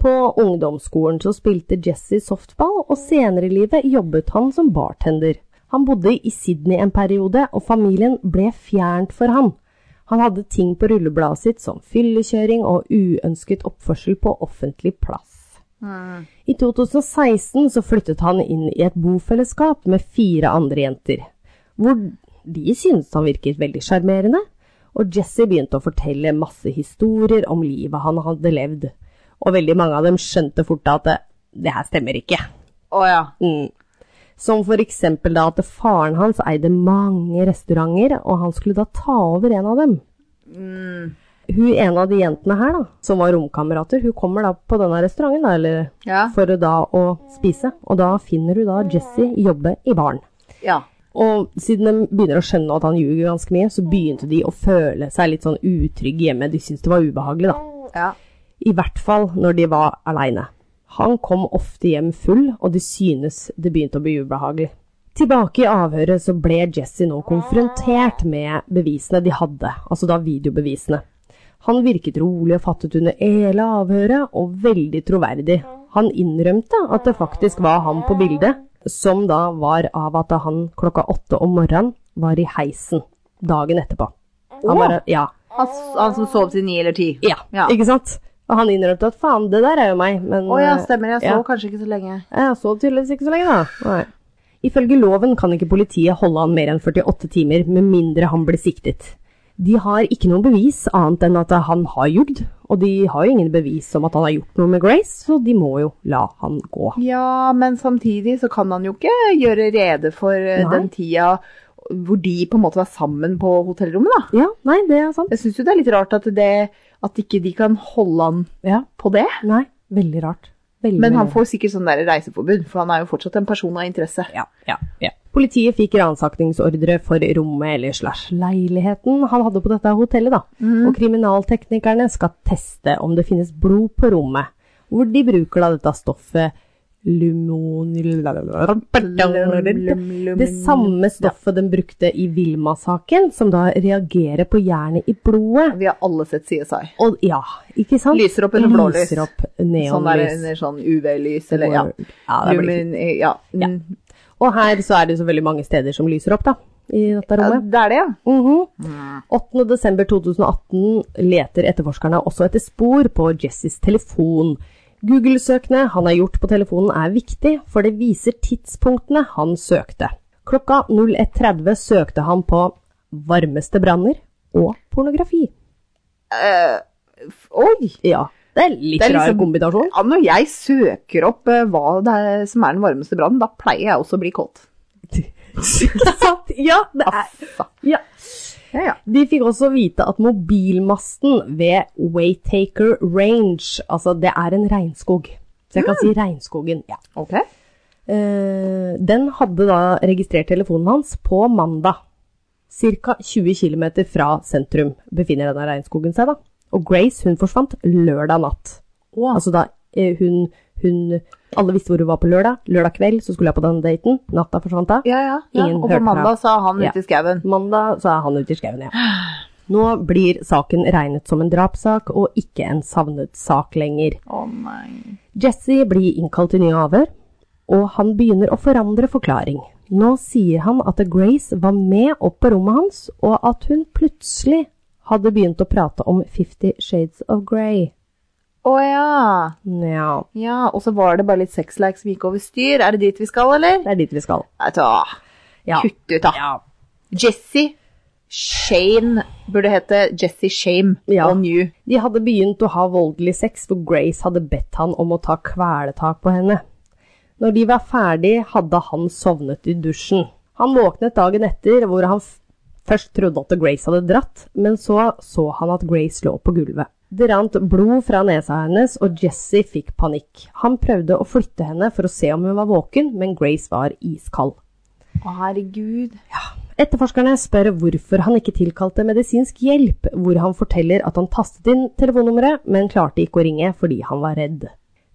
På ungdomsskolen så spilte Jesse softball, og senere i livet jobbet han som bartender. Han bodde i Sydney en periode, og familien ble fjernt for han. Han hadde ting på rullebladet sitt som fyllekjøring og uønsket oppførsel på offentlig plass. I 2016 så flyttet han inn i et bofellesskap med fire andre jenter, hvor de syntes han virket veldig sjarmerende, og Jesse begynte å fortelle masse historier om livet han hadde levd, og veldig mange av dem skjønte fort at det, det her stemmer ikke.
Å ja.
Mm. Som for eksempel da at faren hans eide mange restauranter, og han skulle da ta over en av dem. Hun ene av de jentene her da, som var romkamerater, hun kommer da på denne restauranten da, eller
Ja.
for da å spise, og da finner hun da Jesse jobbe i baren.
ja.
Og siden de begynner å skjønne at han ljuger ganske mye, så begynte de å føle seg litt sånn utrygge hjemme. De syntes det var ubehagelig, da.
Ja.
I hvert fall når de var aleine. Han kom ofte hjem full, og de synes det begynte å bli ubehagelig. Tilbake i avhøret så ble Jesse nå konfrontert med bevisene de hadde, altså da videobevisene. Han virket rolig og fattet under hele avhøret, og veldig troverdig. Han innrømte at det faktisk var han på bildet, som da var av at han klokka åtte om morgenen var i heisen dagen etterpå. Han bare, ja,
Han, han som sov til ni eller ti.
ja,
Ja.
ikke sant? Og han innrømte at faen, det der er jo meg, men
Å ja,
eh,
stemmer. Jeg så
ja.
kanskje ikke så lenge.
Jeg sov tydeligvis ikke så lenge, da. Nei. Ifølge loven kan ikke politiet holde han mer enn 48 timer, med mindre han blir siktet. De har ikke noe bevis annet enn at han har jugd, og de har jo ingen bevis om at han har gjort noe med Grace, så de må jo la han gå.
Ja, men samtidig så kan han jo ikke gjøre rede for eh,
Nei.
den tida hvor de på en måte var sammen på hotellrommet, da.
Ja, nei, det er sant.
Jeg syns jo det er litt rart at, det, at ikke de kan holde han
Ja,
på det.
nei, veldig rart. Veldig,
Men han
veldig rart.
får sikkert sånn der reiseforbud, for han er jo fortsatt en person av interesse.
Ja, ja, ja. Politiet fikk ransakningsordre for rommet eller slash leiligheten han hadde på dette hotellet, da.
Mhm.
Og kriminalteknikerne skal teste om det finnes blod på rommet, hvor de bruker da dette stoffet Lumon... Det samme stoffet den brukte i Vilma-saken, som da reagerer på jernet i blodet.
Vi har alle sett CSI.
Og ja, ikke sant?
Lyser opp under blålys.
Lyser opp
Sånn der
neonlys.
under sånn UV-lys, eller ja.
Ja, det blir fint.
Lumen, ja.
Ja.
Mm.
Og her så er det så veldig mange steder som lyser opp, da, i dette
ja.
rommet.
Det er det, ja.
Mhm. 8. desember 2018 leter etterforskerne også etter spor på Jessys telefon. Google-søkene han har gjort på telefonen er viktig, for det viser tidspunktene han søkte. Klokka 01.30 søkte han på varmeste branner og pornografi.
Oi!
Ja, det er litt
Det er
rar
liksom- <laughs>
kombinasjon.
Ja, når jeg søker opp eh, hva det er som er den varmeste brannen, da pleier jeg også å bli kåt.
Ikke sant? Ja, det er
Altså.
ja.
Ja, ja.
De fikk også vite at mobilmasten ved Waytaker Range, altså det er en regnskog. Så jeg kan si regnskogen, ja.
Ok.
Eh, den hadde da registrert telefonen hans på mandag. Ca. 20 km fra sentrum befinner denne regnskogen seg, da. Og Grace hun forsvant lørdag natt.
Ah.
Altså da eh, hun, hun Alle visste hvor hun var på lørdag. Lørdag kveld så skulle hun på den daten. Natta forsvant hun.
Ja, ja. ja.
Ingen
Og
hørte
på
fra.
mandag sa han
Ja.
ute i skauen.
Mandag så er han ute i skauen, ja. Nå blir saken regnet som en drapssak og ikke en savnet sak lenger.
Å nei.
Jesse blir innkalt til nye avhør, og han begynner å forandre forklaring. Nå sier han at Grace var med opp på rommet hans, og at hun plutselig hadde begynt å prate om Fifty Shades of Grey.
Å ja.
Nja,
Ja, og så var det bare litt sexlike som gikk over styr. Er det dit vi skal, eller?
det er dit vi skal.
Vet du hva.
Ja.
Kutt ut, da.
Ja.
Jesse Shane burde hete Jesse Shame
Ja.
on you.
De hadde begynt å ha voldelig sex, for Grace hadde bedt han om å ta kveletak på henne. Når de var ferdig, hadde han sovnet i dusjen. Han våknet dagen etter, hvor han f- først trodde at Grace hadde dratt, men så så han at Grace lå på gulvet. Det rant blod fra nesa hennes, og Jesse fikk panikk. Han prøvde å flytte henne for å se om hun var våken, men Grace var iskald.
Å, herregud.
Etterforskerne spør hvorfor han ikke tilkalte medisinsk hjelp, hvor han forteller at han tastet inn telefonnummeret, men klarte ikke å ringe fordi han var redd.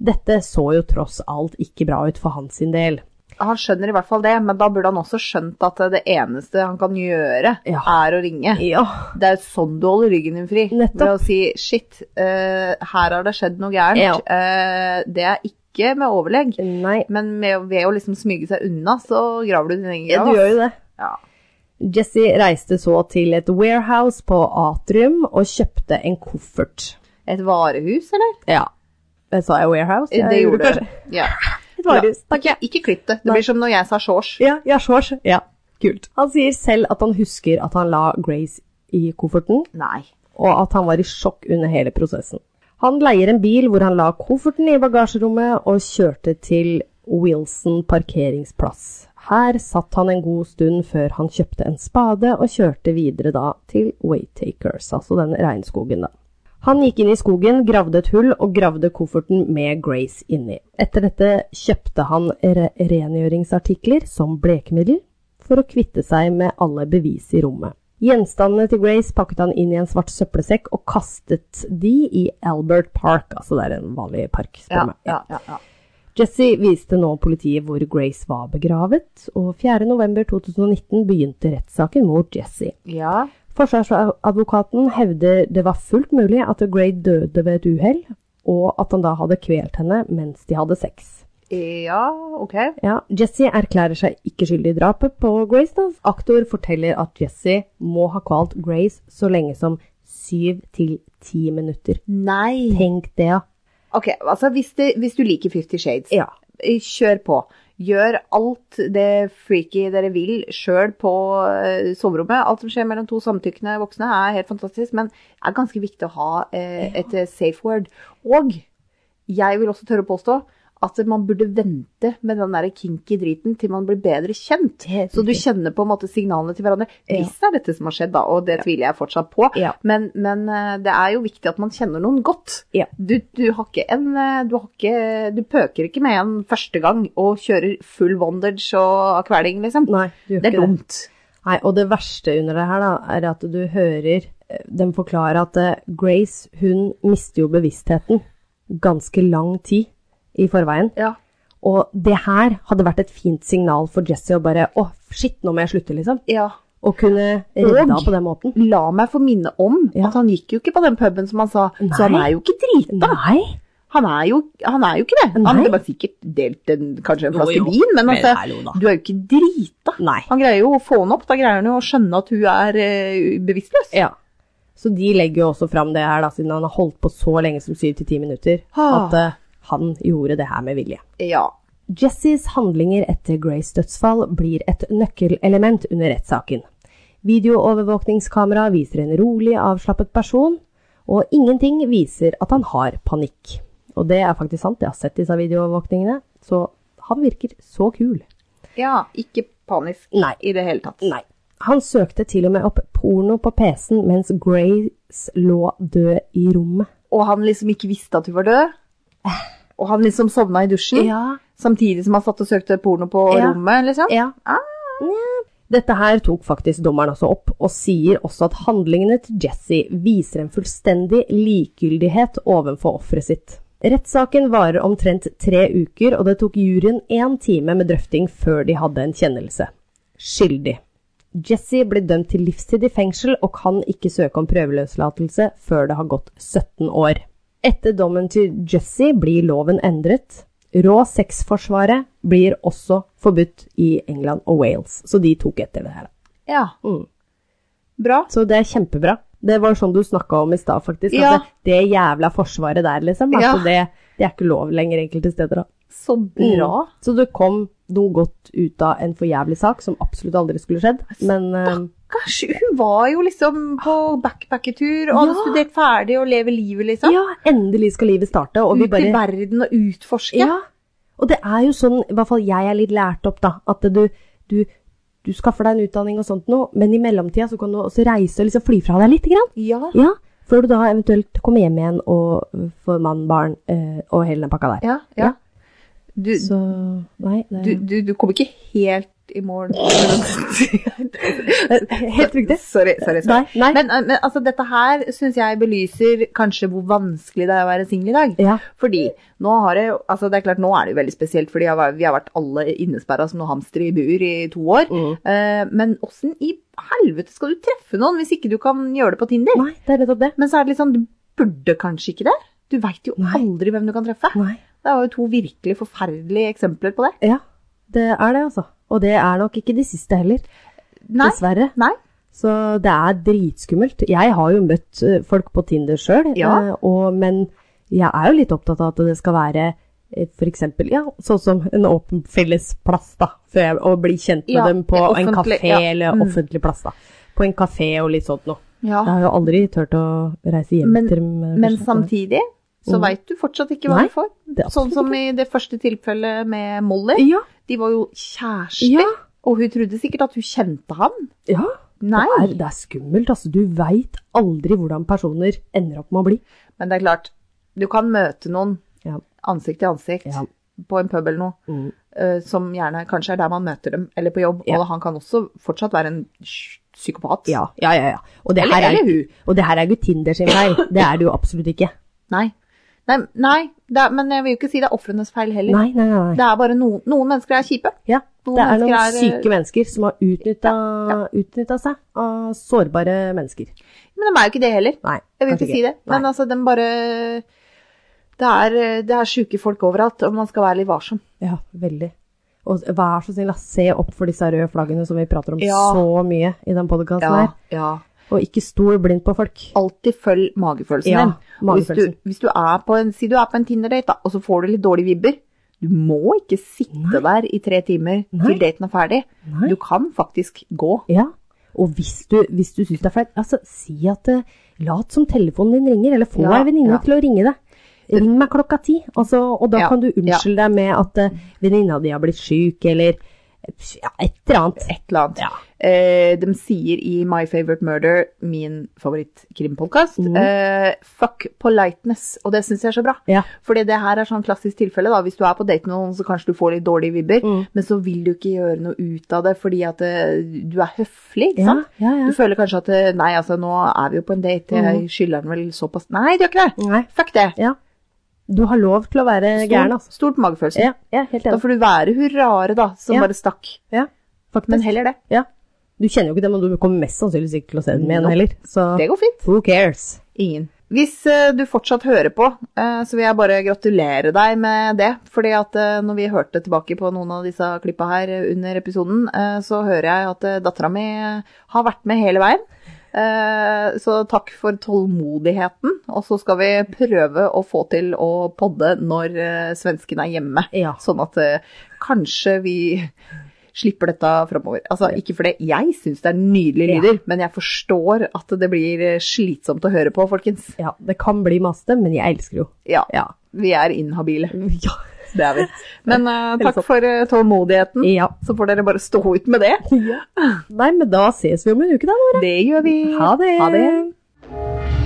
Dette så jo tross alt ikke bra ut for hans sin del.
Han skjønner i hvert fall det, men da burde han også skjønt at det eneste han kan gjøre,
Ja.
er å ringe.
Ja,
Det er sånn du holder ryggen din fri.
Nettopp.
Ved å si shit, eh, her har det skjedd noe gærent.
Ja.
Eh, det er ikke med overlegg,
nei,
men med, ved å liksom smyge seg unna, så graver du din egen
du
grav.
gjør jo det.
Ja.
Jesse reiste så til et warehouse på Atrium og kjøpte en koffert.
Et varehus, eller?
Ja, det sa jeg warehouse? Jeg
det
gjorde
gjorde du.
kanskje.
Ja.
Et varehus, takk.
Ikke, ikke klipp det. Det blir som når jeg sa shorts.
Ja, ja, shorts. Ja, kult. Han sier selv at han husker at han la Grace i kofferten,
Nei.
og at han var i sjokk under hele prosessen. Han leier en bil hvor han la kofferten i bagasjerommet og kjørte til Wilson parkeringsplass. Her satt han en god stund før han kjøpte en spade og kjørte videre da til Waytakers, altså den regnskogen da. Han gikk inn i skogen, gravde et hull og gravde kofferten med Grace inni. Etter dette kjøpte han re rengjøringsartikler som blekemiddel for å kvitte seg med alle bevis i rommet. Gjenstandene til Grace pakket han inn i en svart søppelsekk og kastet de i Albert Park, altså det er en vanlig park. spør
Ja,
meg.
ja, ja, ja.
Jesse viste nå politiet hvor Grace var begravet, og 4.11.2019 begynte rettssaken mot Jesse.
ja.
Forsvarsadvokaten hevder det var fullt mulig at Gray døde ved et uhell, og at han da hadde kvelt henne mens de hadde sex.
Ja, ok.
Ja, Jesse erklærer seg ikke skyldig i drapet på Grace. Da. Aktor forteller at Jesse må ha kvalt Grace så lenge som syv til ti minutter.
Nei.
Tenk det, ja.
Ok, altså hvis, det, hvis du liker Fifty Shades,
Ja.
eh, kjør på. Gjør alt det freaky dere vil sjøl på eh, soverommet. Alt som skjer mellom to samtykkende voksne er helt fantastisk, men det er ganske viktig å ha eh, et eh, safe word. Og jeg vil også tørre å påstå at man burde vente med den der kinky driten til man blir bedre kjent.
Helt
Så du kjenner på en måte signalene til hverandre. Hvis det er dette som har skjedd, da, og det tviler jeg fortsatt på,
Ja.
men, men eh, det er jo viktig at man kjenner noen godt.
Ja.
Du, du har ikke en eh, du, har ikke, du pøker ikke med en første gang og kjører full bondage og kveling, liksom.
Nei, du gjør
det er
ikke det.
dumt.
Nei, og det verste under det her da, er at du hører eh, dem forklare at eh, Grace, hun mister jo bevisstheten ganske lang tid i forveien.
Ja.
Og det her hadde vært et fint signal for Jesse å bare Å, shit, nå må jeg slutte, liksom.
Ja.
Og kunne redde
Og-
henne på den måten.
La meg få minne om
Ja.
at han gikk jo ikke på den puben som han sa, så han
Nei.
er jo ikke drita.
Nei.
Han er jo, han er jo ikke det. Han
Nei.
hadde bare sikkert delt en, kanskje en
Jo,
flaske
jo.
vin, men
Men
altså,
hallo da.
du er jo ikke drita.
Nei.
Han greier jo å få henne opp, da greier han jo å skjønne at hun er eh, bevisstløs.
Ja. Så de legger jo også fram det her, da, siden han har holdt på så lenge som syv til ti minutter,
Ah.
at eh, han gjorde det her med vilje.
Ja.
Jessies handlinger etter Grays dødsfall blir et nøkkelelement under rettssaken. Videoovervåkningskamera viser en rolig, avslappet person, og ingenting viser at han har panikk. Og det er faktisk sant, jeg har sett disse videoovervåkningene, så han virker så kul.
ja. Ikke panisk
Nei.
i det hele tatt.
Nei. Han søkte til og med opp porno på PC-en mens Grace lå død i rommet.
Og han liksom ikke visste at hun var død. Og han liksom sovna i dusjen,
Ja,
samtidig som han satt og søkte porno på
Ja.
rommet, liksom.
Ja.
Ah.
Nja. Dette her tok faktisk dommeren også opp, og sier også at handlingene til Jesse viser en fullstendig likegyldighet overfor offeret sitt. Rettssaken varer omtrent tre uker, og det tok juryen én time med drøfting før de hadde en kjennelse. Skyldig. Jesse blir dømt til livstid i fengsel og kan ikke søke om prøveløslatelse før det har gått 17 år. Etter dommen til Jesse blir loven endret. Rå sex-forsvaret blir også forbudt i England og Wales, så de tok etter det her.
Ja.
Mm.
Bra.
Så det er kjempebra. Det var sånn du snakka om i stad, faktisk.
Ja.
At det, det jævla forsvaret der, liksom.
Ja.
Altså det, det er ikke lov lenger enkelte steder. Da.
Så bra.
Mm. Så det kom noe godt ut av en for jævlig sak som absolutt aldri skulle skjedd. Men eh,
Stakkars, hun var jo liksom på backpackertur og hadde
Ja.
studert ferdig og lever livet, liksom.
ja, endelig skal livet starte, og vi
Ut i
bare
verden og utforske.
Ja. Og det er jo sånn, i hvert fall jeg er litt lært opp, da, at du, du, du skaffer deg en utdanning og sånt noe, men i mellomtida så kan du også reise og liksom fly fra deg litt. Grann.
Ja.
Ja, før du da eventuelt kommer hjem igjen og øh, får mann, barn øh, og hele den pakka der.
ja, ja. Du,
Så nei,
du,
det
du, du kom ikke helt i mål.
<laughs> Helt riktig.
<laughs> Sorry, sorry. sorry.
Nei, nei.
Men, eh, men altså, dette her syns jeg belyser kanskje hvor vanskelig det er å være singel i dag.
Ja.
Fordi nå har det, jo- altså det er klart, nå er det jo veldig spesielt, fordi jeg har- vi har vært alle innesperra som noen hamstere i bur i to år.
Mm.
Eh, men åssen i helvete skal du treffe noen hvis ikke du kan gjøre det på Tinder?
nei, det er nettopp det.
Men så er det litt sånn, du burde kanskje ikke det? Du veit jo
Nei.
aldri hvem du kan treffe.
Nei.
Det var jo to virkelig forferdelige eksempler på det.
Ja, det er det, altså. Og det er nok ikke de siste heller,
Nei.
dessverre.
Nei.
Så det er dritskummelt. Jeg har jo møtt eh, folk på Tinder sjøl, eh,
Ja.
men jeg er jo litt opptatt av at det skal være f.eks. Ja, sånn som en åpen felles plass, da. For jeg, å bli kjent med
Ja,
dem på
ja,
en
offentlig,
kafé
ja.
eller
Mm.
offentlig plass, da. På en kafé og litt sånt noe.
Ja.
Jeg har jo aldri turt å reise hjem
Men-
til dem. eh,
Men
først.
samtidig så
Mm.
veit du fortsatt ikke hva
Nei,
du får.
det er
Sånn
absolutt
som i det første tilfellet med Molly.
Ja.
De var jo kjærester,
ja.
og hun trodde sikkert at hun kjente ham.
ja.
Nei.
Det, er, det er skummelt, altså. Du veit aldri hvordan personer ender opp med å bli.
Men det er klart, du kan møte noen
Ja.
ansikt til ansikt
Ja.
på en pub eller noe,
Mm.
eh, som gjerne kanskje er der man møter dem, eller på jobb.
Ja.
Og han kan også fortsatt være en sj- psykopat.
Ja, ja, ja. ja. Og, det
Eller,
her er,
eller hun.
og det her er jo ikke Tinder sin feil. Det er det jo absolutt ikke.
Nei. Nei, nei det er, men jeg vil jo ikke si det er ofrenes feil heller.
Nei, nei, nei. nei.
Det er bare noen, noen mennesker er kjipe.
Ja,
Noen
det er noen
mennesker er, eh,
syke mennesker som har utnytta seg av sårbare mennesker.
Men de er jo ikke det heller.
Nei,
Jeg vil ikke si det. Men altså, de bare det er, det er sjuke folk overalt, og man skal være litt varsom.
Ja, veldig. Og vær så snill, da, se opp for disse røde flaggene som vi prater om
Ja.
så mye i den podkasten Sånn her.
ja.
Og ikke stol blindt på folk.
Alltid følg magefølelsen
Ja,
din. Og Hvis du,
magefølelsen.
hvis du er på en, si du er på en Tinder-date, da, og så får du litt dårlige vibber. Du må ikke sitte der i tre timer
Nei.
til daten er ferdig.
Nei.
Du kan faktisk gå.
Ja, og hvis du, hvis du syns det er flaut, altså si at eh, lat som telefonen din ringer, eller få
Ja,
ei venninne
ja.
til å ringe deg. Ring meg klokka ti, altså, og da
Ja,
kan du unnskylde deg med at eh, venninna di har blitt syk, eller ja, et eller annet.
Et eller annet.
Ja.
Eh, de sier i My Favorite Murder, min favorittkrimpodkast,
Mhm.
eh, fuck politeness. Og det syns jeg er så bra.
Ja.
Fordi det her er sånn klassisk tilfelle. da, Hvis du er på date med noen, så kanskje du får litt dårlige vibber,
Mm.
men så vil du ikke gjøre noe ut av det fordi at eh, du er høflig. ikke
Ja,
sant?
ja, ja. Mhm.
Du føler kanskje at eh, Nei, altså, nå er vi jo på en date, jeg skylder den vel såpass Nei, du gjør ikke det!
Nei.
Fuck det!
Ja. Du har lov til å være gæren, altså.
Stort på magefølelse.
Ja, jeg er helt
Da
enig.
får du være hun rare, da, som
Ja.
bare stakk.
Ja, faktisk.
Men heller det.
Ja. Du kjenner jo ikke dem, og du kommer mest sannsynligvis ikke til å se dem igjen
Nope.
heller. Så
Det går fint.
who cares?
Ingen. Hvis eh, du fortsatt hører på, eh, så vil jeg bare gratulere deg med det. Fordi at eh, når vi hørte tilbake på noen av disse klippa her eh, under episoden, eh, så hører jeg at eh, dattera mi eh, har vært med hele veien. Eh, Så takk for tålmodigheten. Og så skal vi prøve å få til å podde når eh, svensken er hjemme.
Ja.
Sånn at eh, kanskje vi slipper dette framover. Altså, ikke fordi jeg syns det er nydelige lyder, men jeg forstår at det blir eh, slitsomt å høre på, folkens.
Ja, det kan bli maste, men jeg elsker jo.
Ja,
Ja.
vi er inhabile.
Ja.
Det er vi. Men eh,
Eller
takk
sånn.
for eh, tålmodigheten.
ja.
Så får dere bare stå ut med det.
Nei, men da ses vi om en uke, da, Nora.
Det gjør vi.
Ha det.
Ha det.